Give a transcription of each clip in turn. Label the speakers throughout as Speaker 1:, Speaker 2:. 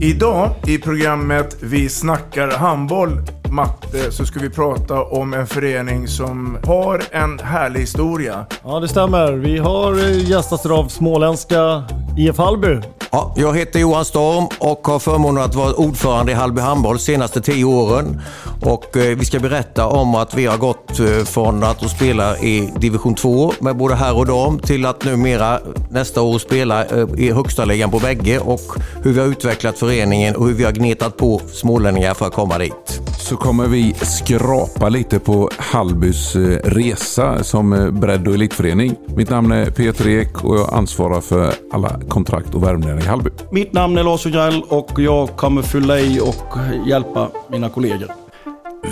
Speaker 1: Idag i programmet Vi snackar handboll, matte, så ska vi prata om en förening som har en härlig historia.
Speaker 2: Ja, det stämmer. Vi har eh, gästats av småländska IF Hallby.
Speaker 3: Ja, jag heter Johan Storm och har förmånen att vara ordförande i Hallby handboll de senaste tio åren. Och eh, vi ska berätta om att vi har gått eh, från att spela i division 2 med både herr och dam till att numera nästa år spela eh, i högsta ligan på bägge och hur vi har utvecklat föreningen och hur vi har gnetat på smålänningar för att komma dit.
Speaker 4: så kommer vi skrapa lite på Hallbys eh, resa som eh, bredd och elitförening. Mitt namn är Peter Ek och jag ansvarar för alla kontrakt och värvningar i Hallby.
Speaker 5: Mitt namn är Lars Ogrell och jag kommer fylla i och hjälpa mina kollegor.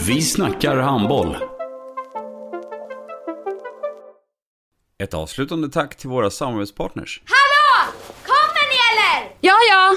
Speaker 6: Vi snackar handboll. Ett avslutande tack till våra samarbetspartners.
Speaker 7: Hallå! Kommer ni eller?
Speaker 8: Ja, ja.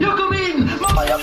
Speaker 9: Jag kom in! Mamma, jag